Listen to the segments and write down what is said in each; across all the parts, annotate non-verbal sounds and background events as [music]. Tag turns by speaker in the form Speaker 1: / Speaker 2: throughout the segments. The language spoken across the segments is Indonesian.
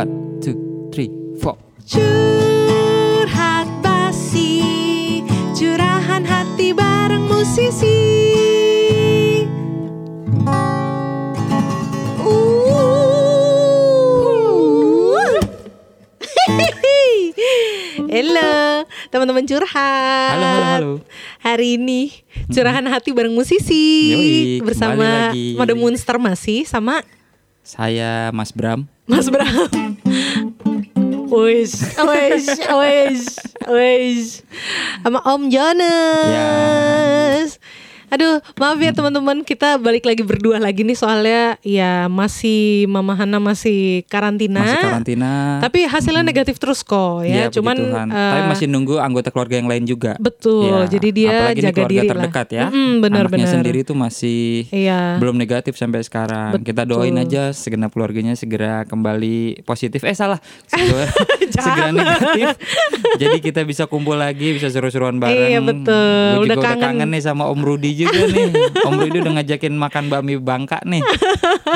Speaker 1: One, two, three, four.
Speaker 2: Curhat basi Curahan hati bareng musisi [laughs] Uh. Halo teman-teman curhat
Speaker 1: Halo, halo, halo. Hmm.
Speaker 2: Hari ini curahan hati bareng musisi
Speaker 1: Yoi, kembali
Speaker 2: Bersama
Speaker 1: lagi.
Speaker 2: Mode Monster masih sama
Speaker 1: Saya Mas Bram.
Speaker 2: Mas Bram. Wish, wish, wish, wish. Sama Om
Speaker 1: Ya.
Speaker 2: Jonas. Aduh, maaf ya teman-teman, kita balik lagi berdua lagi nih soalnya ya masih Mama Hana masih karantina.
Speaker 1: Masih karantina.
Speaker 2: Nah, Tapi hasilnya negatif terus kok
Speaker 1: Iya,
Speaker 2: ya.
Speaker 1: puji
Speaker 2: Cuman
Speaker 1: Tuhan.
Speaker 2: eh,
Speaker 1: Tapi masih nunggu anggota keluarga yang lain juga.
Speaker 2: Betul,
Speaker 1: Iya,
Speaker 2: jadi dia
Speaker 1: apalagi ini
Speaker 2: jaga
Speaker 1: keluarga
Speaker 2: diri lah.
Speaker 1: terdekat ya.
Speaker 2: Mm-mm, benar,
Speaker 1: Anaknya
Speaker 2: benar.
Speaker 1: sendiri tuh masih
Speaker 2: Iya.
Speaker 1: belum negatif sampai sekarang. Kita doain
Speaker 2: Betul.
Speaker 1: aja segenap keluarganya segera kembali positif. Eh
Speaker 2: [laughs]
Speaker 1: salah, segera, segera negatif. Jadi kita bisa kumpul lagi, bisa seru-seruan bareng.
Speaker 2: Iya, betul.
Speaker 1: Gua
Speaker 2: Udah
Speaker 1: juga udah
Speaker 2: kangen.
Speaker 1: kangen nih sama Om Rudi juga
Speaker 2: [laughs]
Speaker 1: nih. Om Rudi udah ngajakin makan bakmi Bangka nih.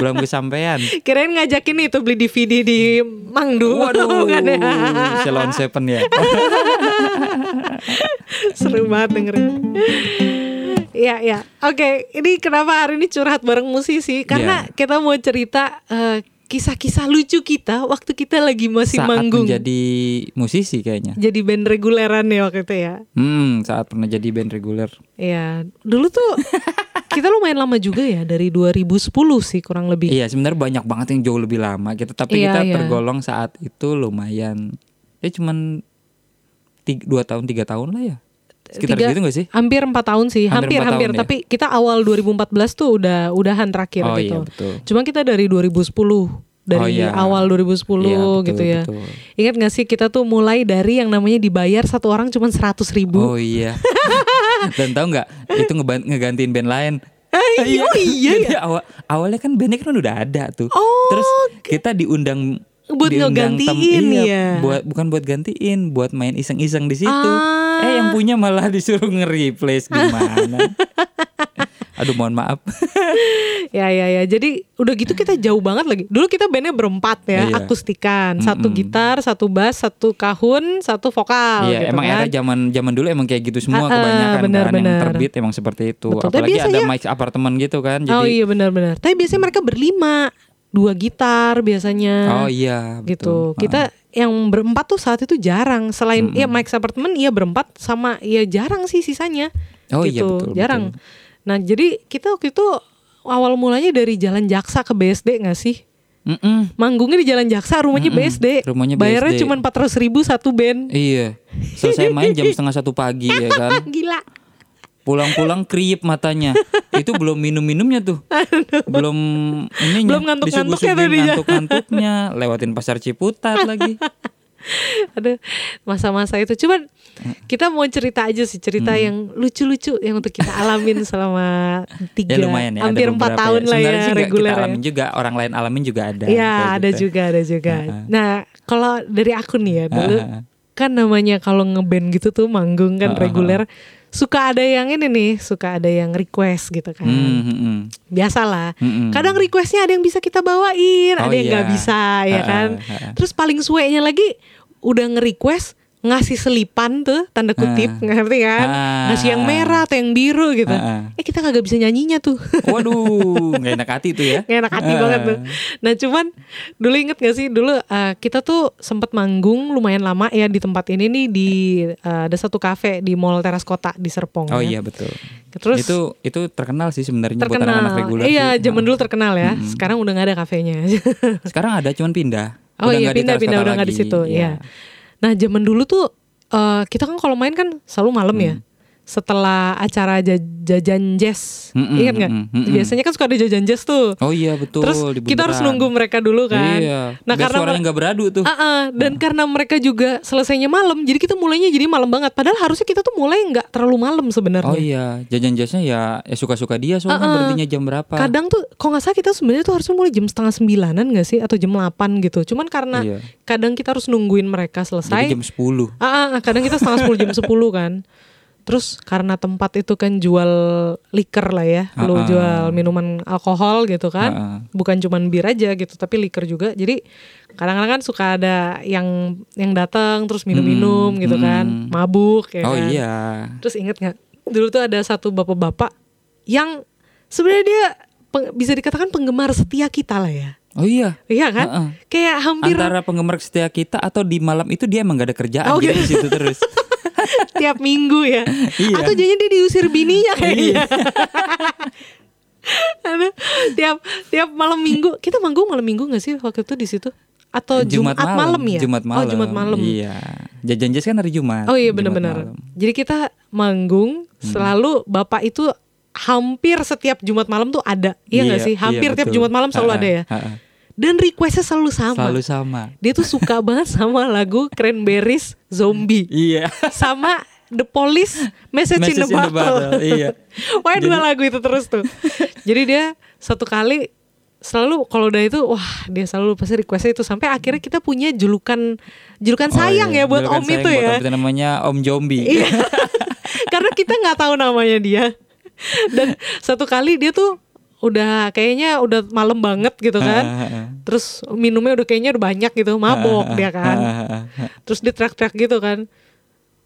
Speaker 1: Belum kesampaian.
Speaker 2: kirain ngajakin itu beli DVD di Mangdu.
Speaker 1: Waduh,
Speaker 2: [laughs] Bukan ya?
Speaker 1: Ceylon Seven
Speaker 2: [laughs]
Speaker 1: ya.
Speaker 2: Seru banget dengerin. Iya, iya. Oke, ini kenapa hari ini curhat bareng musisi? Karena
Speaker 1: Iya.
Speaker 2: kita mau cerita eh, kisah-kisah lucu kita waktu kita lagi masih
Speaker 1: saat
Speaker 2: manggung.
Speaker 1: menjadi musisi kayaknya.
Speaker 2: Jadi band reguleran ya waktu itu ya.
Speaker 1: Hmm, saat pernah jadi band reguler.
Speaker 2: Iya, dulu
Speaker 1: [laughs]
Speaker 2: tuh kita lumayan lama juga ya dari 2010 sih kurang lebih.
Speaker 1: Iya, sebenarnya banyak banget yang jauh lebih lama kita, tapi
Speaker 2: Iya,
Speaker 1: kita
Speaker 2: iya.
Speaker 1: tergolong saat itu lumayan. Ya cuman tiga, dua tahun tiga tahun lah ya. Sekitar
Speaker 2: Tiga-
Speaker 1: segitu gak Iya sih?
Speaker 2: Hampir 4 tahun sih,
Speaker 1: Hampir
Speaker 2: hampir
Speaker 1: empat
Speaker 2: hampir,
Speaker 1: tahun ya.
Speaker 2: tapi kita awal 2014 tuh udah udahan terakhir
Speaker 1: Oh,
Speaker 2: gitu.
Speaker 1: iya, betul.
Speaker 2: Cuma kita dari 2010
Speaker 1: Oh,
Speaker 2: dari
Speaker 1: iya.
Speaker 2: awal
Speaker 1: Iya,
Speaker 2: 2010
Speaker 1: betul,
Speaker 2: gitu ya.
Speaker 1: betul.
Speaker 2: Ingat gak sih kita tuh mulai dari yang namanya dibayar satu orang cuma seratus ribu.
Speaker 1: Oh
Speaker 2: [laughs]
Speaker 1: iya. Dan tahu nggak itu ngeban- ngegantiin band lain.
Speaker 2: Eh, oh iya
Speaker 1: Jadi awal, awalnya kan bandnya kan udah ada tuh.
Speaker 2: Oh,
Speaker 1: Terus kita diundang
Speaker 2: Buat
Speaker 1: diundang tem-
Speaker 2: ngegantiin
Speaker 1: iya,
Speaker 2: ya.
Speaker 1: Buat bukan buat gantiin, buat main iseng-iseng di situ.
Speaker 2: Ah.
Speaker 1: Eh yang punya malah disuruh nge-replace
Speaker 2: [laughs]
Speaker 1: gimana? Aduh mohon maaf.
Speaker 2: Ya ya ya. Jadi udah gitu kita jauh banget lagi. Dulu kita bandnya berempat
Speaker 1: Iya.
Speaker 2: ya,
Speaker 1: hmm.
Speaker 2: akustikan, satu gitar, satu bass, satu kahun, satu vokal.
Speaker 1: Iya,
Speaker 2: gitu
Speaker 1: emang
Speaker 2: kan.
Speaker 1: era zaman zaman dulu emang kayak gitu semua
Speaker 2: Ah, ah,
Speaker 1: kebanyakan
Speaker 2: benar,
Speaker 1: kan yang
Speaker 2: benar.
Speaker 1: terbit emang seperti itu.
Speaker 2: Betul, tapi
Speaker 1: Apalagi ada
Speaker 2: biasanya-
Speaker 1: mic apartemen gitu kan. Jadi
Speaker 2: Oh iya benar-benar. Tapi biasanya mereka berlima, dua gitar biasanya.
Speaker 1: Oh iya,
Speaker 2: gitu.
Speaker 1: betul.
Speaker 2: Kita yang berempat tuh saat itu jarang. Selain ya Mike's Apartment iya berempat sama ya jarang sih sisanya.
Speaker 1: Oh iya,
Speaker 2: gitu.
Speaker 1: betul,
Speaker 2: Jarang. Nah, jadi kita waktu itu awal mulanya dari Jalan Jaksa ke BSD nggak sih?
Speaker 1: Mm-mm.
Speaker 2: Manggungnya di Jalan Jaksa, rumahnya
Speaker 1: Mm-mm,
Speaker 2: BSD.
Speaker 1: rumahnya
Speaker 2: Bayarnya
Speaker 1: BSD.
Speaker 2: cuma 400 ribu satu band.
Speaker 1: Iya, selesai main jam setengah satu pagi ya
Speaker 2: [laughs]
Speaker 1: kan.
Speaker 2: Gila.
Speaker 1: Pulang-pulang kriip matanya. Itu belum minum-minumnya tuh. Belum ini
Speaker 2: Belum ngantuk-ngantuknya tadi ya.
Speaker 1: ngantuk-ngantuknya, lewatin pasar Ciputat lagi.
Speaker 2: Ada masa-masa itu. Cuman
Speaker 1: Mm.
Speaker 2: kita mau cerita aja sih cerita yang lucu-lucu yang untuk kita alamin selama
Speaker 1: [laughs]
Speaker 2: tiga,
Speaker 1: Ya lumayan ya, ada
Speaker 2: Iya, hampir empat
Speaker 1: beberapa
Speaker 2: tahun lah
Speaker 1: Sebenarnya
Speaker 2: ya
Speaker 1: sih nggak
Speaker 2: reguler.
Speaker 1: Kita
Speaker 2: ya.
Speaker 1: alamin juga, orang lain alamin juga ada. kayak
Speaker 2: Iya ada
Speaker 1: gitu.
Speaker 2: juga ada juga.
Speaker 1: Heeh.
Speaker 2: Nah kalau dari aku nih ya dulu
Speaker 1: Heeh.
Speaker 2: kan namanya kalau ngeband gitu tuh manggung kan
Speaker 1: Heeh.
Speaker 2: reguler suka ada yang ini nih suka ada yang request gitu kan.
Speaker 1: Hmm, hmm, hmm.
Speaker 2: Biasalah.
Speaker 1: Mm-mm.
Speaker 2: Kadang requestnya ada yang bisa kita bawain,
Speaker 1: Oh,
Speaker 2: ada yang
Speaker 1: iya.
Speaker 2: nggak bisa ya
Speaker 1: Heeh,
Speaker 2: kan.
Speaker 1: heeh.
Speaker 2: Terus paling suenya lagi udah nge-request ngasih selipan tuh tanda kutip
Speaker 1: Ah.
Speaker 2: ngerti kan
Speaker 1: Ah.
Speaker 2: ngasih yang merah atau yang biru gitu
Speaker 1: Ah,
Speaker 2: eh kita kagak bisa nyanyinya tuh [laughs]
Speaker 1: Waduh, nggak enak hati tuh ya.
Speaker 2: Nggak enak hati
Speaker 1: Eh,
Speaker 2: banget tuh. Nah cuman dulu inget gak sih dulu eh, kita tuh sempet manggung lumayan lama ya di tempat ini nih di eh, ada satu kafe di Mall Teras Kota di Serpong.
Speaker 1: Oh iya
Speaker 2: ya.
Speaker 1: betul.
Speaker 2: Terus
Speaker 1: itu itu terkenal sih sebenarnya buat anak-anak
Speaker 2: terkenal.
Speaker 1: reguler.
Speaker 2: Iya
Speaker 1: sih.
Speaker 2: zaman dulu terkenal ya. Sekarang udah gak ada kafenya. [laughs]
Speaker 1: Sekarang ada cuman pindah.
Speaker 2: oh
Speaker 1: nggak di
Speaker 2: iya
Speaker 1: Teras
Speaker 2: pindah-pindah
Speaker 1: Kota
Speaker 2: udah gak di
Speaker 1: lagi,
Speaker 2: situ.
Speaker 1: iya.
Speaker 2: Iya. Nah zaman dulu tuh eh, kita kan kalau main kan selalu malam ya.
Speaker 1: Mm.
Speaker 2: Setelah acara ja- jajan jazz,
Speaker 1: Mm-mm,
Speaker 2: ingat nggak?
Speaker 1: mm-mm, mm-mm.
Speaker 2: Biasanya kan suka ada jajan jazz tuh.
Speaker 1: Oh iya betul.
Speaker 2: Terus
Speaker 1: di
Speaker 2: kita harus
Speaker 1: bundaran.
Speaker 2: nunggu mereka dulu kan.
Speaker 1: Iya.
Speaker 2: Nah
Speaker 1: Biar
Speaker 2: karena
Speaker 1: suaranya Nah. nggak beradu tuh.
Speaker 2: Ah, ah, dan karena mereka juga selesainya malam, jadi kita mulainya jadi malam banget. Padahal harusnya kita tuh mulai nggak terlalu
Speaker 1: Oh
Speaker 2: malam sebenarnya.
Speaker 1: iya, jajan jasnya ya, ya suka-suka dia soalnya
Speaker 2: Ah, ah.
Speaker 1: berhentinya jam berapa.
Speaker 2: Kadang tuh, kalau nggak salah kita sebenarnya tuh harusnya mulai jam setengah sembilanan nggak sih, atau jam 8 gitu. Cuman karena
Speaker 1: Iya.
Speaker 2: kadang kita harus nungguin mereka
Speaker 1: Jadi
Speaker 2: selesai.
Speaker 1: jam 10. [laughs]
Speaker 2: Ah, ah, ah, kadang kita setengah sepuluh jam 10 kan. Terus karena tempat itu kan jual liker lah ya,
Speaker 1: Ah,
Speaker 2: lu
Speaker 1: ah.
Speaker 2: jual minuman alkohol gitu kan,
Speaker 1: Ah, ah.
Speaker 2: bukan cuman bir aja gitu, tapi liker juga. Jadi kadang-kadang kan suka ada yang yang datang terus minum-minum
Speaker 1: Mm,
Speaker 2: gitu kan,
Speaker 1: mm.
Speaker 2: mabuk ya
Speaker 1: oh
Speaker 2: kan.
Speaker 1: iya.
Speaker 2: Terus inget nggak? Dulu tuh ada satu bapak-bapak yang sebenarnya dia peng- bisa dikatakan penggemar setia kita lah ya.
Speaker 1: Oh iya.
Speaker 2: Iya kan?
Speaker 1: Heeh.
Speaker 2: Kayak hampir
Speaker 1: Antara penggemar setia kita atau di malam itu dia emang gak ada kerjaan
Speaker 2: Oh,
Speaker 1: jadi
Speaker 2: gitu.
Speaker 1: di situ
Speaker 2: [laughs]
Speaker 1: terus.
Speaker 2: tiap minggu ya.
Speaker 1: Iya. Oh,
Speaker 2: Atau jadinya dia diusir bininya kayaknya. [laughs] Aduh, tiap tiap malam minggu kita manggung malam minggu nggak sih waktu itu di situ? Atau Oh, Jumat, malam, ya?
Speaker 1: Jumat malam.
Speaker 2: Oh Jumat malam.
Speaker 1: Iya. Jajan jas kan hari Jumat.
Speaker 2: Oh iya
Speaker 1: Jumat
Speaker 2: benar-benar.
Speaker 1: malam. Hmm.
Speaker 2: Jadi kita manggung selalu bapak itu hampir setiap Jumat malam tuh ada. Iya nggak sih? Hampir tiap
Speaker 1: betul.
Speaker 2: Jumat malam selalu
Speaker 1: Ha-ha,
Speaker 2: ada ya.
Speaker 1: ha-ha.
Speaker 2: Dan requestnya selalu sama.
Speaker 1: Selalu sama.
Speaker 2: Dia tuh suka [laughs] banget sama lagu Cranberries Zombie
Speaker 1: Iya.
Speaker 2: sama The Police Message, in
Speaker 1: Message in
Speaker 2: the
Speaker 1: the
Speaker 2: Bottle.
Speaker 1: Bottle, iya.
Speaker 2: [laughs] Wah dua
Speaker 1: Jadi-
Speaker 2: lagu itu terus tuh. Jadi dia satu kali selalu kalau udah itu wah dia selalu pasti requestnya itu sampai akhirnya kita punya julukan julukan sayang
Speaker 1: Oh, iya.
Speaker 2: ya buat
Speaker 1: Julukan
Speaker 2: Om
Speaker 1: sayang
Speaker 2: itu
Speaker 1: buat
Speaker 2: ya.
Speaker 1: Om itu namanya Om Zombie.
Speaker 2: Iya. [laughs] Karena kita nggak tahu namanya dia. Dan satu kali dia tuh udah kayaknya udah malam banget gitu
Speaker 1: Ah.
Speaker 2: kan. Terus minumnya udah kayaknya udah banyak gitu,
Speaker 1: ah,
Speaker 2: mabok dia kan. Terus dia teriak-teriak gitu kan.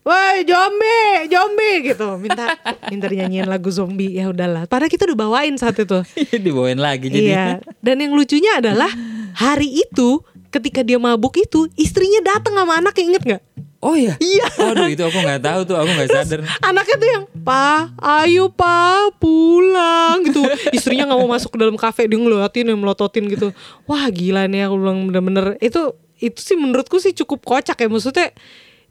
Speaker 2: Woi zombie, zombie gitu. Minta minta nyanyiin lagu zombie. Ya udahlah. Padahal kita udah bawain saat itu.
Speaker 1: [laughs] Dibawain lagi jadi.
Speaker 2: Iya. Dan yang lucunya adalah hari itu ketika dia mabuk itu istrinya datang sama anaknya inget nggak?
Speaker 1: Oh iya.
Speaker 2: Iya.
Speaker 1: Waduh itu aku nggak tahu tuh, aku nggak sadar.
Speaker 2: [laughs] Anaknya tuh yang Pa, ayo pa pulang gitu Istrinya gak mau masuk ke dalam kafe Dia ngelototin, melototin gitu Wah gila nih aku bilang bener-bener Itu itu sih menurutku sih cukup kocak ya Maksudnya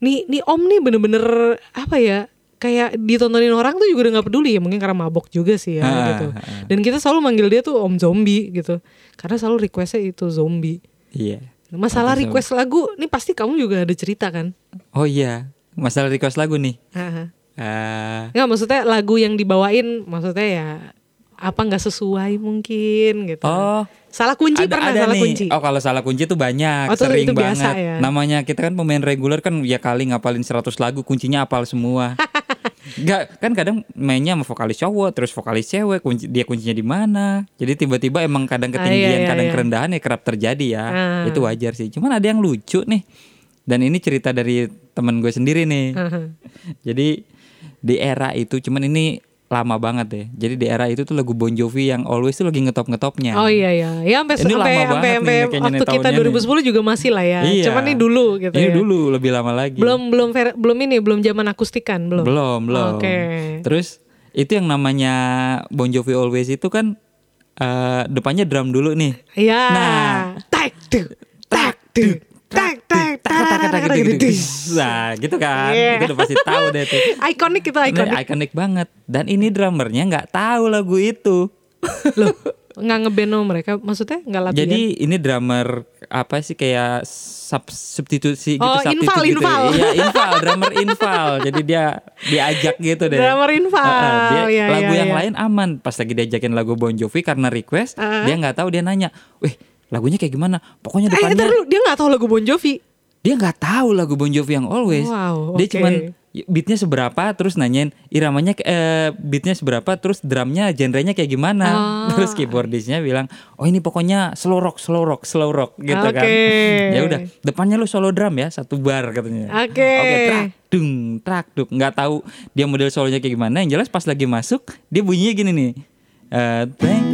Speaker 2: Nih, nih om nih bener-bener Apa ya Kayak ditontonin orang tuh juga udah gak peduli ya Mungkin karena mabok juga sih ya
Speaker 1: Ah,
Speaker 2: gitu Dan kita selalu manggil dia tuh om zombie gitu Karena selalu requestnya itu zombie
Speaker 1: Iya.
Speaker 2: Masalah request lagu Nih pasti kamu juga ada cerita kan ah.
Speaker 1: Oh iya. Masalah request lagu nih.
Speaker 2: Heeh.
Speaker 1: Ah,
Speaker 2: Nggak maksudnya lagu yang dibawain maksudnya ya apa nggak sesuai mungkin gitu.
Speaker 1: oh.
Speaker 2: Salah kunci
Speaker 1: ada,
Speaker 2: pernah
Speaker 1: ada
Speaker 2: salah
Speaker 1: nih.
Speaker 2: kunci.
Speaker 1: Oh kalau salah kunci tuh banyak,
Speaker 2: Oh, itu-
Speaker 1: sering
Speaker 2: itu
Speaker 1: banget.
Speaker 2: biasa ya.
Speaker 1: Namanya kita kan pemain reguler kan ya kali ngapalin 100 lagu, kuncinya apal
Speaker 2: [laughs]
Speaker 1: semua. Gak, kan kadang mainnya sama vokalis cowok, terus vokalis cewek, kunci, dia kuncinya di mana. Jadi tiba-tiba emang kadang
Speaker 2: Ah,
Speaker 1: ketinggian,
Speaker 2: iya, iya,
Speaker 1: kadang
Speaker 2: iya.
Speaker 1: kerendahan ya kerap terjadi ya.
Speaker 2: Ah.
Speaker 1: Itu wajar sih. Cuman ada yang lucu nih. Dan ini cerita dari temen gue sendiri nih.
Speaker 2: Aha.
Speaker 1: Jadi di era itu cuman ini lama banget deh. Jadi di era itu tuh lagu Bon Jovi yang always tuh lagi ngetop-ngetopnya.
Speaker 2: [laughs] Oh iya iya. Ya sampai
Speaker 1: Ini lama
Speaker 2: sampai
Speaker 1: banget nih,
Speaker 2: sampai sampai
Speaker 1: kayaknya nih
Speaker 2: waktu kita
Speaker 1: tahunnya
Speaker 2: 2010 juga masih lah ya.
Speaker 1: Iya.
Speaker 2: Cuman ini dulu gitu
Speaker 1: Ini
Speaker 2: ya.
Speaker 1: dulu lebih lama lagi.
Speaker 2: Belum belum ver- belum ini belum zaman akustikan belum.
Speaker 1: Belum, belum. Nah.
Speaker 2: Oke.
Speaker 1: Terus itu yang namanya Bon Jovi Always itu kan eh, depannya drum dulu nih.
Speaker 2: Iya.
Speaker 1: Nah.
Speaker 2: Tak tuh. Tak tuh. Tak tak tak tak
Speaker 1: Gitu, gitu,
Speaker 2: gitu.
Speaker 1: gitu. Nah, gitu kan. Itu
Speaker 2: Iya.
Speaker 1: udah pasti tahu deh
Speaker 2: [laughs]
Speaker 1: tuh.
Speaker 2: Ikonik itu
Speaker 1: Ini
Speaker 2: ikonik.
Speaker 1: ikonik banget. Dan ini drummernya nggak tahu lagu itu.
Speaker 2: Loh, nggak ngeband sama mereka maksudnya nggak latihan.
Speaker 1: Jadi ini drummer apa sih kayak sub, substitusi gitu
Speaker 2: Oh,
Speaker 1: substitute
Speaker 2: inval,
Speaker 1: gitu.
Speaker 2: inval.
Speaker 1: Iya, inval, drummer inval. Jadi dia diajak gitu deh.
Speaker 2: Drummer inval,
Speaker 1: Heeh, dia-
Speaker 2: iya,
Speaker 1: lagu
Speaker 2: iya,
Speaker 1: yang
Speaker 2: iya.
Speaker 1: lain aman. Pas lagi diajakin lagu Bon Jovi karena request,
Speaker 2: Heeh.
Speaker 1: dia nggak tahu dia nanya, "Wih, lagunya kayak gimana?" Pokoknya
Speaker 2: Eh, ntar
Speaker 1: depannya
Speaker 2: dulu, dia nggak tahu lagu Bon Jovi.
Speaker 1: dia nggak tahu lagu Bon Jovi yang Always.
Speaker 2: Wow,
Speaker 1: dia
Speaker 2: oke.
Speaker 1: cuman beatnya seberapa terus nanyain iramanya eh, beatnya seberapa terus drumnya genrenya kayak gimana
Speaker 2: Ah.
Speaker 1: [laughs] terus keyboardisnya bilang oh ini pokoknya slow rock slow rock slow rock gitu kan [laughs]
Speaker 2: Oke.
Speaker 1: ya udah depannya lu solo drum ya satu bar katanya
Speaker 2: Oke.
Speaker 1: trak dung trak duk nggak tahu dia model solonya kayak gimana yang jelas pas lagi masuk dia bunyinya gini nih Eh, teng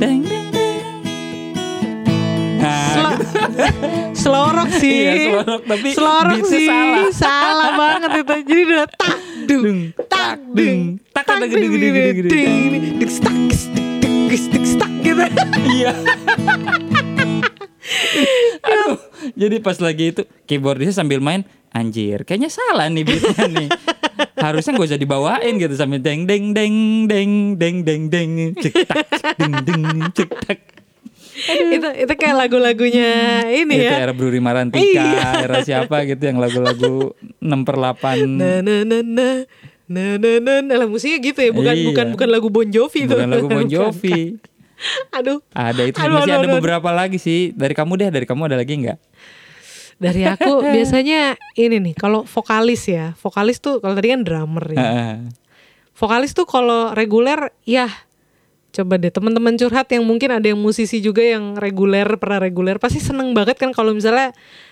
Speaker 1: teng teng teng. Nah,
Speaker 2: [laughs] Sel- slow rock sih.
Speaker 1: Iya, slow rock, tapi
Speaker 2: Slow rock
Speaker 1: beatnya
Speaker 2: sih.
Speaker 1: salah.
Speaker 2: Salah. banget itu. Jadi udah tak dung tak dung
Speaker 1: tak,
Speaker 2: tak
Speaker 1: tak,
Speaker 2: dung
Speaker 1: dung, dung, dung, dung.
Speaker 2: dung stak stik, tik, stik, stak gitu. [laughs]
Speaker 1: Iya. Aduh, jadi pas lagi itu keyboardisnya sambil main anjir, kayaknya salah nih beatnya nih. Harusnya gak usah dibawain gitu sambil deng deng deng deng deng deng deng cek tak cek, ding ding cek tak.
Speaker 2: itu itu kayak lagu-lagunya ini
Speaker 1: Itu
Speaker 2: ya.
Speaker 1: era Bruri Marantika,
Speaker 2: Iya.
Speaker 1: era siapa gitu yang lagu-lagu 6 per 8
Speaker 2: Na na na na na na na. na. Lah musiknya gitu ya, bukan
Speaker 1: Iya.
Speaker 2: bukan bukan lagu Bon Jovi itu.
Speaker 1: bukan
Speaker 2: [laughs]
Speaker 1: lagu Bon
Speaker 2: Bukan.
Speaker 1: Jovi.
Speaker 2: Aduh.
Speaker 1: Ada itu
Speaker 2: Aduh,
Speaker 1: masih
Speaker 2: aduh,
Speaker 1: ada
Speaker 2: aduh.
Speaker 1: beberapa lagi sih. Dari kamu deh, dari kamu ada lagi nggak?
Speaker 2: Dari
Speaker 1: [laughs]
Speaker 2: aku biasanya ini nih, kalau vokalis ya, vokalis tuh kalau tadi kan drummer ya.
Speaker 1: Heeh.
Speaker 2: Vokalis tuh kalau reguler ya coba deh teman-teman curhat yang mungkin ada yang musisi juga yang reguler pernah reguler pasti seneng banget kan kalau misalnya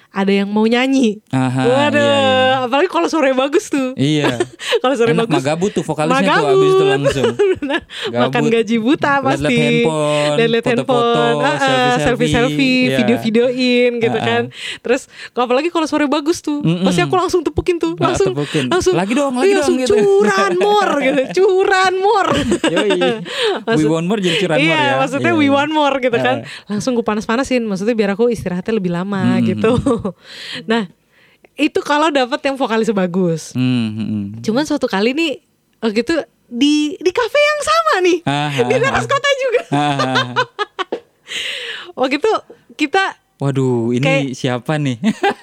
Speaker 2: ada yang mau nyanyi.
Speaker 1: Aha,
Speaker 2: Waduh,
Speaker 1: iya,
Speaker 2: apalagi kalau sore bagus tuh.
Speaker 1: [laughs] Iya.
Speaker 2: [laughs] kalau sore
Speaker 1: Enak
Speaker 2: bagus.
Speaker 1: magabut tuh vokalisnya tuh
Speaker 2: magabut.
Speaker 1: abis itu langsung.
Speaker 2: [laughs] Benar.
Speaker 1: Gabut.
Speaker 2: Makan gaji buta
Speaker 1: Liat-liat
Speaker 2: pasti.
Speaker 1: handphone,
Speaker 2: Liat-liat
Speaker 1: foto-foto,
Speaker 2: handphone, ah, ah,
Speaker 1: selfie-selfie,
Speaker 2: selfie-selfie,
Speaker 1: iya.
Speaker 2: video-videoin
Speaker 1: Ah,
Speaker 2: gitu
Speaker 1: ah.
Speaker 2: kan. Terus kalau apalagi kalau sore bagus tuh,
Speaker 1: Mm-mm.
Speaker 2: pasti aku langsung tepukin tuh,
Speaker 1: Ah,
Speaker 2: langsung
Speaker 1: tepukin.
Speaker 2: langsung
Speaker 1: Lagi dong, lagi
Speaker 2: iya,
Speaker 1: dong,
Speaker 2: langsung
Speaker 1: gitu.
Speaker 2: curan
Speaker 1: [laughs]
Speaker 2: mor gitu, curan mor.
Speaker 1: Yoi. We
Speaker 2: [laughs] Maksud-
Speaker 1: want more jadi curan
Speaker 2: iya,
Speaker 1: more ya.
Speaker 2: maksudnya
Speaker 1: Iya,
Speaker 2: we
Speaker 1: iya.
Speaker 2: want more gitu kan. Langsung gue panas-panasin, maksudnya biar aku istirahatnya lebih
Speaker 1: Hmm.
Speaker 2: lama gitu. [laughs] nah, itu kalau dapat yang vokalis bagus.
Speaker 1: Hmm, hmm, hmm.
Speaker 2: Cuman suatu kali nih waktu itu di di kafe yang sama nih.
Speaker 1: Ah,
Speaker 2: di
Speaker 1: ah,
Speaker 2: atas
Speaker 1: ah.
Speaker 2: kota juga.
Speaker 1: Ah,
Speaker 2: Waktu itu kita
Speaker 1: Waduh, ini
Speaker 2: Kayak-
Speaker 1: siapa nih?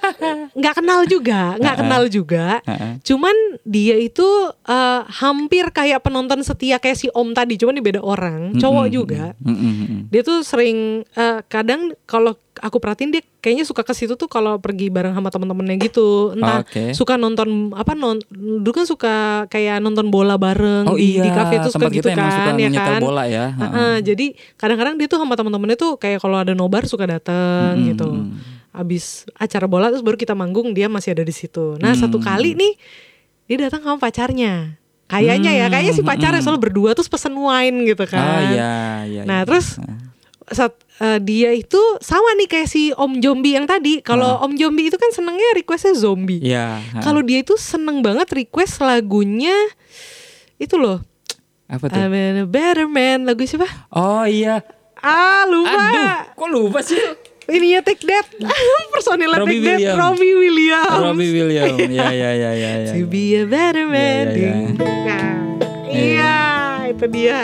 Speaker 1: [laughs]
Speaker 2: nggak kenal juga, nggak kenal juga.
Speaker 1: Ah, ah.
Speaker 2: Cuman dia itu eh, hampir kayak penonton setia kayak si Om tadi, cuman ini beda orang, cowok juga.
Speaker 1: Hmm, hmm, hmm.
Speaker 2: Dia tuh sering eh, kadang kalau aku perhatiin dia kayaknya suka ke situ tuh kalau pergi bareng sama temen-temennya gitu. Entah
Speaker 1: Oke.
Speaker 2: suka nonton apa non dulu kan suka kayak nonton bola bareng
Speaker 1: Oh
Speaker 2: di,
Speaker 1: iya,
Speaker 2: di kafe itu suka
Speaker 1: tempat
Speaker 2: gitu
Speaker 1: kita emang suka
Speaker 2: kan ya
Speaker 1: nyetel
Speaker 2: kan.
Speaker 1: bola ya.
Speaker 2: Heeh,
Speaker 1: Heeh.
Speaker 2: jadi kadang-kadang dia tuh sama teman-temannya tuh kayak kalau ada nobar suka dateng
Speaker 1: Mm-mm,
Speaker 2: gitu.
Speaker 1: mm-mm.
Speaker 2: Abis acara bola terus baru kita manggung dia masih ada di situ. Nah, satu kali nih dia datang sama pacarnya. Kayaknya ya, kayaknya si pacarnya selalu berdua terus pesen wine gitu kan.
Speaker 1: Ah iya, iya.
Speaker 2: Nah,
Speaker 1: iya.
Speaker 2: terus saat eh, dia itu sama nih kayak si Om Jombi yang tadi. Kalau Om Jombi itu kan senengnya requestnya zombie.
Speaker 1: Ah. Iya. ha.
Speaker 2: Kalau dia itu seneng banget request lagunya itu loh.
Speaker 1: apa tuh?
Speaker 2: I'm a better man lagu siapa?
Speaker 1: oh iya.
Speaker 2: Ah lupa
Speaker 1: Aduh, kok lupa
Speaker 2: [laughs]
Speaker 1: sih?
Speaker 2: Ini ya Take That [laughs] Personilnya
Speaker 1: Robbie
Speaker 2: Take That
Speaker 1: Williams.
Speaker 2: Robbie Williams
Speaker 1: Robbie Williams.
Speaker 2: [laughs]
Speaker 1: Iya, iya, iya, iya. iya.
Speaker 2: To be a better man
Speaker 1: Iya, iya, iya.
Speaker 2: Ding, ding. Nah Iya itu dia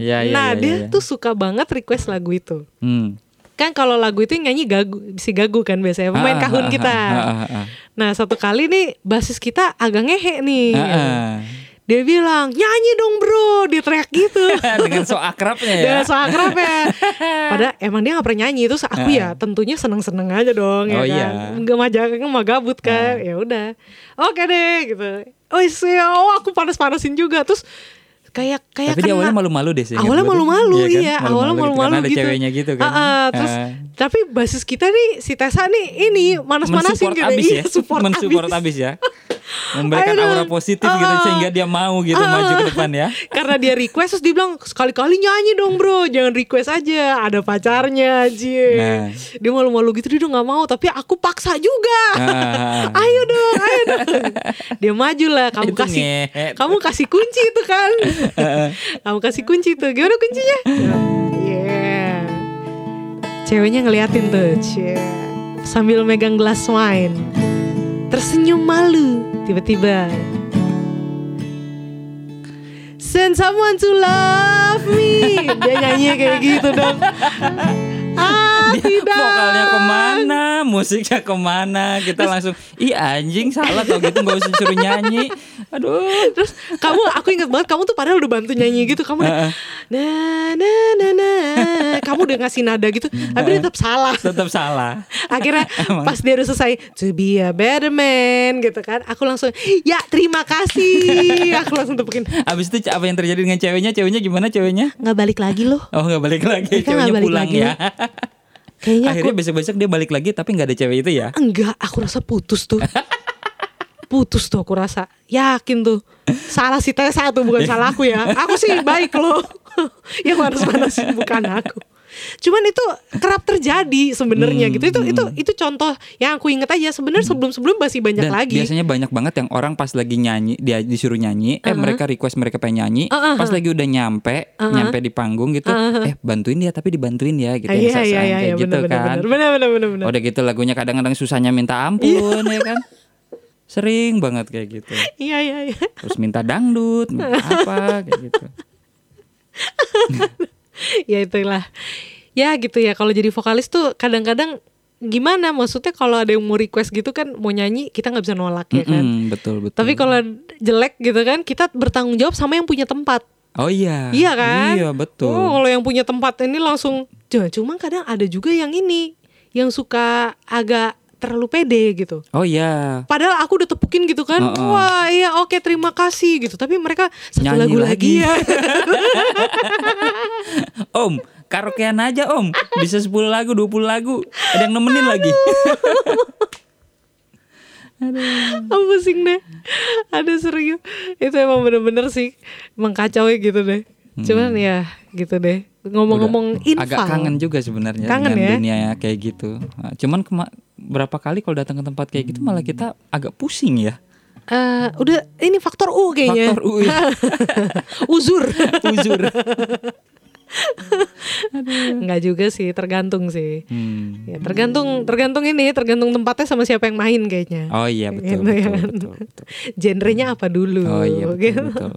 Speaker 1: Iya, iya,
Speaker 2: Nah
Speaker 1: iya,
Speaker 2: dia
Speaker 1: iya.
Speaker 2: tuh suka banget request lagu itu
Speaker 1: Hmm.
Speaker 2: Kan kalau lagu itu yang nyanyi gagu, si Gagu kan biasanya Pemain
Speaker 1: Ah,
Speaker 2: kahun
Speaker 1: ah,
Speaker 2: kita
Speaker 1: ah, ah, ah.
Speaker 2: Nah satu kali nih Basis kita agak ngehe nih
Speaker 1: Ah,
Speaker 2: Dia bilang Nyanyi dong bro Dia teriak
Speaker 1: [laughs]
Speaker 2: gitu
Speaker 1: ah. [laughs] Dengan so akrabnya ya.
Speaker 2: Dengan soal akrabnya
Speaker 1: [laughs]
Speaker 2: Padahal emang dia gak pernah nyanyi Terus aku ya tentunya seneng-seneng aja dong ya
Speaker 1: Oh,
Speaker 2: kan
Speaker 1: iya.
Speaker 2: Nggak mah jangan mah gabut kan Ya udah Oke deh gitu Oh iya oh, aku panas-panasin juga Terus kayak kayak
Speaker 1: Tapi dia
Speaker 2: kena-
Speaker 1: awalnya malu-malu deh sih. ingat
Speaker 2: Awalnya
Speaker 1: gua tuh.
Speaker 2: malu-malu
Speaker 1: kan?
Speaker 2: iya, Awalnya
Speaker 1: gitu
Speaker 2: malu-malu
Speaker 1: Karena
Speaker 2: gitu,
Speaker 1: ada ceweknya gitu kan.
Speaker 2: Ah, ah, Terus
Speaker 1: Ah.
Speaker 2: Tapi basis kita nih Si Tessa nih ini
Speaker 1: Hmm.
Speaker 2: Manas-manasin
Speaker 1: mensupport
Speaker 2: gitu
Speaker 1: abis ya
Speaker 2: Iya, support
Speaker 1: mensupport
Speaker 2: abis.
Speaker 1: abis ya memberikan
Speaker 2: Aduh.
Speaker 1: aura positif gitu
Speaker 2: Ah.
Speaker 1: sehingga dia mau gitu
Speaker 2: Ah.
Speaker 1: maju ke depan ya
Speaker 2: [laughs] Karena dia request terus dia bilang sekali-kali nyanyi dong bro, jangan request aja, ada pacarnya aja.
Speaker 1: Nah.
Speaker 2: Dia malu-malu gitu dia udah nggak mau, tapi aku paksa juga.
Speaker 1: Ah.
Speaker 2: ayo dong, ayo dong.
Speaker 1: [laughs]
Speaker 2: Dia maju lah, kamu
Speaker 1: Itu
Speaker 2: kasih,
Speaker 1: ngehe.
Speaker 2: kamu kasih kunci itu kan, kamu kasih kunci itu, gimana kuncinya? Yeah. Ceweknya ngeliatin tuh, cie. sambil megang gelas wine, tersenyum malu, tiba-tiba Send someone to love me Dia nyanyi kayak gitu
Speaker 1: [laughs]
Speaker 2: dong Ah [laughs] tidak
Speaker 1: vokalnya kemana musiknya kemana kita langsung ih anjing salah kalau gitu nggak usah suruh nyanyi aduh
Speaker 2: Terus kamu aku ingat banget kamu tuh padahal udah bantu nyanyi gitu kamu udah na na na na kamu udah ngasih nada gitu tapi dia tetap salah.
Speaker 1: tetap salah
Speaker 2: Akhirnya pas dia udah selesai to be a better man gitu kan aku langsung ya terima kasih aku langsung tepukin
Speaker 1: abis itu apa yang terjadi dengan ceweknya ceweknya gimana ceweknya
Speaker 2: nggak balik lagi loh
Speaker 1: oh nggak balik lagi
Speaker 2: Mereka nggak
Speaker 1: ceweknya
Speaker 2: balik
Speaker 1: pulang
Speaker 2: lagi.
Speaker 1: ya
Speaker 2: kayaknya aku
Speaker 1: akhirnya besok besok dia balik lagi tapi nggak ada cewek itu ya
Speaker 2: enggak aku rasa putus tuh putus tuh aku rasa yakin tuh salah si Tessa tuh bukan salah aku ya aku sih baik loh [laughs] yang harus panasin bukan aku cuman itu kerap terjadi sebenarnya gitu itu itu itu contoh yang aku inget aja sebenarnya sebelum sebelum masih banyak
Speaker 1: Hmm. Dan
Speaker 2: lagi
Speaker 1: biasanya banyak banget yang orang pas lagi nyanyi dia disuruh nyanyi eh mereka request mereka pengen nyanyi
Speaker 2: Uh-huh.
Speaker 1: pas lagi udah nyampe nyampe di panggung gitu eh bantuin dia tapi dibantuin ya gitu yang
Speaker 2: iya iya
Speaker 1: sasaan
Speaker 2: iya
Speaker 1: kayak
Speaker 2: iya
Speaker 1: gitu
Speaker 2: benar
Speaker 1: kan
Speaker 2: benar benar benar benar benar
Speaker 1: udah gitu lagunya kadang-kadang susahnya minta ampun ya kan sering banget kayak gitu
Speaker 2: iya iya iya [laughs]
Speaker 1: terus minta dangdut minta apa kayak gitu
Speaker 2: ya itulah ya gitu ya kalau jadi vokalis tuh kadang-kadang gimana maksudnya kalau ada yang mau request gitu kan mau nyanyi kita nggak bisa nolak ya kan
Speaker 1: Mm-mm, betul betul
Speaker 2: Tapi kalau jelek gitu kan, kita bertanggung jawab sama yang punya tempat.
Speaker 1: oh iya
Speaker 2: Iya kan?
Speaker 1: iya betul
Speaker 2: Oh, kalau yang punya tempat ini langsung, "Jangan, cuma kadang ada juga yang ini, yang suka agak terlalu pede gitu.
Speaker 1: Oh iya.
Speaker 2: Padahal aku udah tepukin gitu kan.
Speaker 1: Heeh.
Speaker 2: Wah, iya oke terima kasih gitu. Tapi mereka satu
Speaker 1: Nyanyi
Speaker 2: lagu
Speaker 1: lagi.
Speaker 2: lagi, [laughs] ya.
Speaker 1: Om, karaokean aja Om. Bisa 10 lagu, 20 lagu. Ada yang nemenin lagi.
Speaker 2: Aku pusing deh. Ada serius. Itu emang bener-bener sih emang kacau ya gitu deh. Cuman ya gitu deh. Ngomong-ngomong
Speaker 1: Hmm. Udah agak
Speaker 2: infal.
Speaker 1: kangen juga sebenarnya
Speaker 2: Kangen
Speaker 1: dengan
Speaker 2: ya?
Speaker 1: dunia kayak gitu. Nah, Cuman kema- berapa kali kalau datang ke tempat kayak gitu malah kita agak pusing ya.
Speaker 2: Eh, udah ini faktor U kayaknya.
Speaker 1: Faktor U, ya.
Speaker 2: [laughs] Uzur.
Speaker 1: Uzur.
Speaker 2: Enggak juga sih, tergantung sih.
Speaker 1: Hmm.
Speaker 2: Ya, tergantung tergantung ini, tergantung tempatnya sama siapa yang main kayaknya.
Speaker 1: Oh iya betul,
Speaker 2: Gitu ya
Speaker 1: betul,
Speaker 2: kan.
Speaker 1: betul, betul.
Speaker 2: Genrenya apa dulu?
Speaker 1: Oh iya
Speaker 2: gitu.
Speaker 1: betul, betul.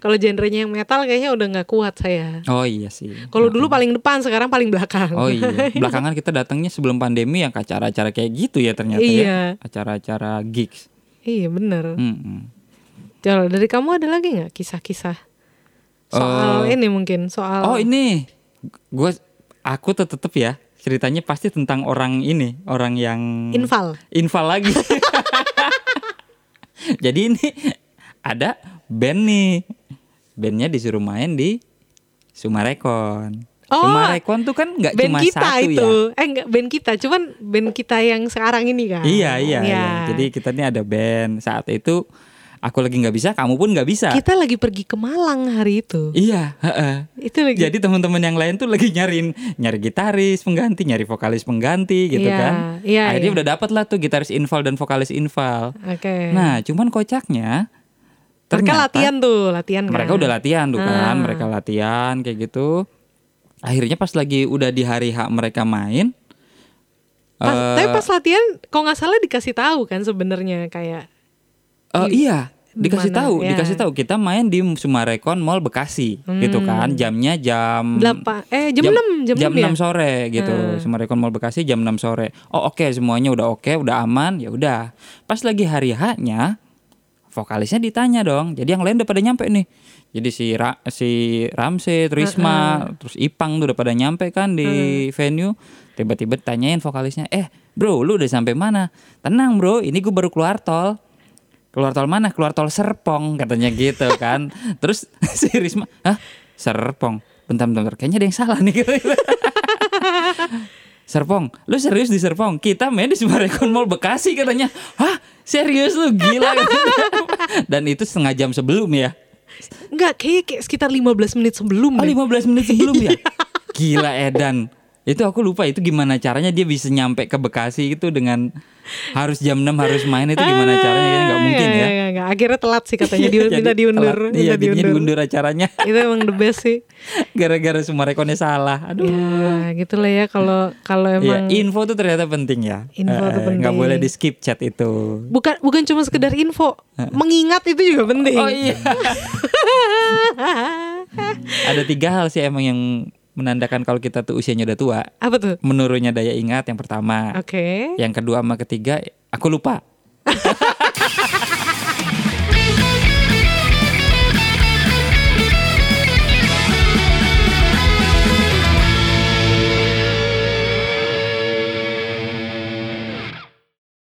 Speaker 2: Kalau genrenya yang metal kayaknya udah nggak kuat saya.
Speaker 1: Oh iya sih.
Speaker 2: Kalau dulu paling depan, sekarang paling belakang.
Speaker 1: Oh iya,
Speaker 2: Gitu.
Speaker 1: belakangan kita datangnya sebelum pandemi yang ke acara-acara kayak gitu ya ternyata
Speaker 2: Iya.
Speaker 1: ya. Acara-acara gigs.
Speaker 2: [laughs]
Speaker 1: Hmm.
Speaker 2: Iya bener.
Speaker 1: Mm-mm.
Speaker 2: Kalau dari kamu ada lagi nggak kisah-kisah soal ini mungkin
Speaker 1: Eh,
Speaker 2: soal
Speaker 1: Oh ini, gue, aku tuh tetep ya ceritanya pasti tentang orang ini, orang yang
Speaker 2: infal?
Speaker 1: infal lagi. [laughs] Jadi ini ada band nih, bandnya disuruh main di Sumarekon.
Speaker 2: Oh,
Speaker 1: Sumarekon tuh kan nggak
Speaker 2: Band
Speaker 1: cuma
Speaker 2: kita
Speaker 1: satu
Speaker 2: itu,
Speaker 1: ya.
Speaker 2: eh enggak band kita, cuman band kita yang sekarang ini kan.
Speaker 1: Iya iya,
Speaker 2: Ya.
Speaker 1: iya. Jadi kita nih ada band saat itu aku lagi nggak bisa, kamu pun nggak bisa.
Speaker 2: kita lagi pergi ke Malang hari itu.
Speaker 1: Iya. heeh.
Speaker 2: Itu lagi.
Speaker 1: Jadi teman-teman yang lain tuh lagi nyariin nyari gitaris pengganti, nyari vokalis pengganti gitu
Speaker 2: Iya,
Speaker 1: kan.
Speaker 2: iya,
Speaker 1: Akhirnya
Speaker 2: iya.
Speaker 1: udah dapat lah tuh gitaris inval dan vokalis inval.
Speaker 2: Oke.
Speaker 1: Nah, cuman kocaknya
Speaker 2: mereka
Speaker 1: ternyata
Speaker 2: latihan tuh, latihan kan.
Speaker 1: mereka udah latihan tuh kan,
Speaker 2: Ah.
Speaker 1: mereka latihan kayak gitu. Akhirnya pas lagi udah di hari H mereka main
Speaker 2: Pas,
Speaker 1: eh,
Speaker 2: tapi pas latihan, kalau nggak salah dikasih tahu kan sebenarnya kayak
Speaker 1: Eh, iya,
Speaker 2: di
Speaker 1: dikasih
Speaker 2: mana?
Speaker 1: tahu,
Speaker 2: Ya.
Speaker 1: dikasih tahu kita main di Sumarekon Mall Bekasi gitu kan. Jamnya jam
Speaker 2: Hmm. delapan, eh jam, enam, jam, enam ya.
Speaker 1: 6 sore gitu. Sumarekon Mall Bekasi jam 6 sore. Oh, oke semuanya udah oke, udah aman, ya udah. Pas lagi hari H-nya vokalisnya ditanya dong. Jadi yang lain udah pada nyampe nih. Jadi si Ra- si Ramse, Trisma, terus Ipang tuh udah pada nyampe kan di venue. Tiba-tiba tanyain vokalisnya, "Eh, bro, lu udah sampai mana?" "Tenang, bro, ini gue baru keluar tol." Keluar tol mana? Keluar tol Serpong katanya gitu kan. Terus [laughs] si Risma, "Hah? Serpong?" Bentar, bentar, bentar. Kayaknya ada yang salah nih [laughs] gitu. Serpong, lu serius di Serpong? Kita main di Sumarekon Mall Bekasi katanya. Hah? Serius lu gila. [laughs] Dan itu setengah jam sebelum ya.
Speaker 2: Enggak, kayak, kayak sekitar 15 menit sebelum
Speaker 1: Oh,
Speaker 2: deh.
Speaker 1: 15 menit sebelum
Speaker 2: [laughs] Iya.
Speaker 1: ya. Gila Edan. Itu aku lupa itu gimana caranya dia bisa nyampe ke Bekasi itu dengan harus jam 6 harus main itu gimana caranya kayaknya nggak mungkin
Speaker 2: Ah,
Speaker 1: ya.
Speaker 2: nggak, nggak. Akhirnya telat sih katanya dia
Speaker 1: [laughs] Jadi
Speaker 2: minta diundur,
Speaker 1: telat. Iya,
Speaker 2: minta
Speaker 1: jadinya
Speaker 2: diundur.
Speaker 1: diundur acaranya [laughs]
Speaker 2: Itu emang the best sih.
Speaker 1: gara-gara Sumarekonnya salah. Aduh.
Speaker 2: Ya, gitulah ya kalau
Speaker 1: Iya,
Speaker 2: kalau emang
Speaker 1: info tuh ternyata penting ya.
Speaker 2: Info tuh
Speaker 1: Eh, eh, nggak
Speaker 2: penting.
Speaker 1: boleh di skip chat itu.
Speaker 2: bukan bukan cuma sekedar info, mengingat itu juga penting.
Speaker 1: Oh iya. Ada tiga hal sih emang yang menandakan kalau kita tuh usianya udah tua.
Speaker 2: [laughs] Apa tuh?
Speaker 1: Menurunnya daya Nah. ingat yang pertama.
Speaker 2: Oke.
Speaker 1: Yang kedua sama ketiga, aku lupa.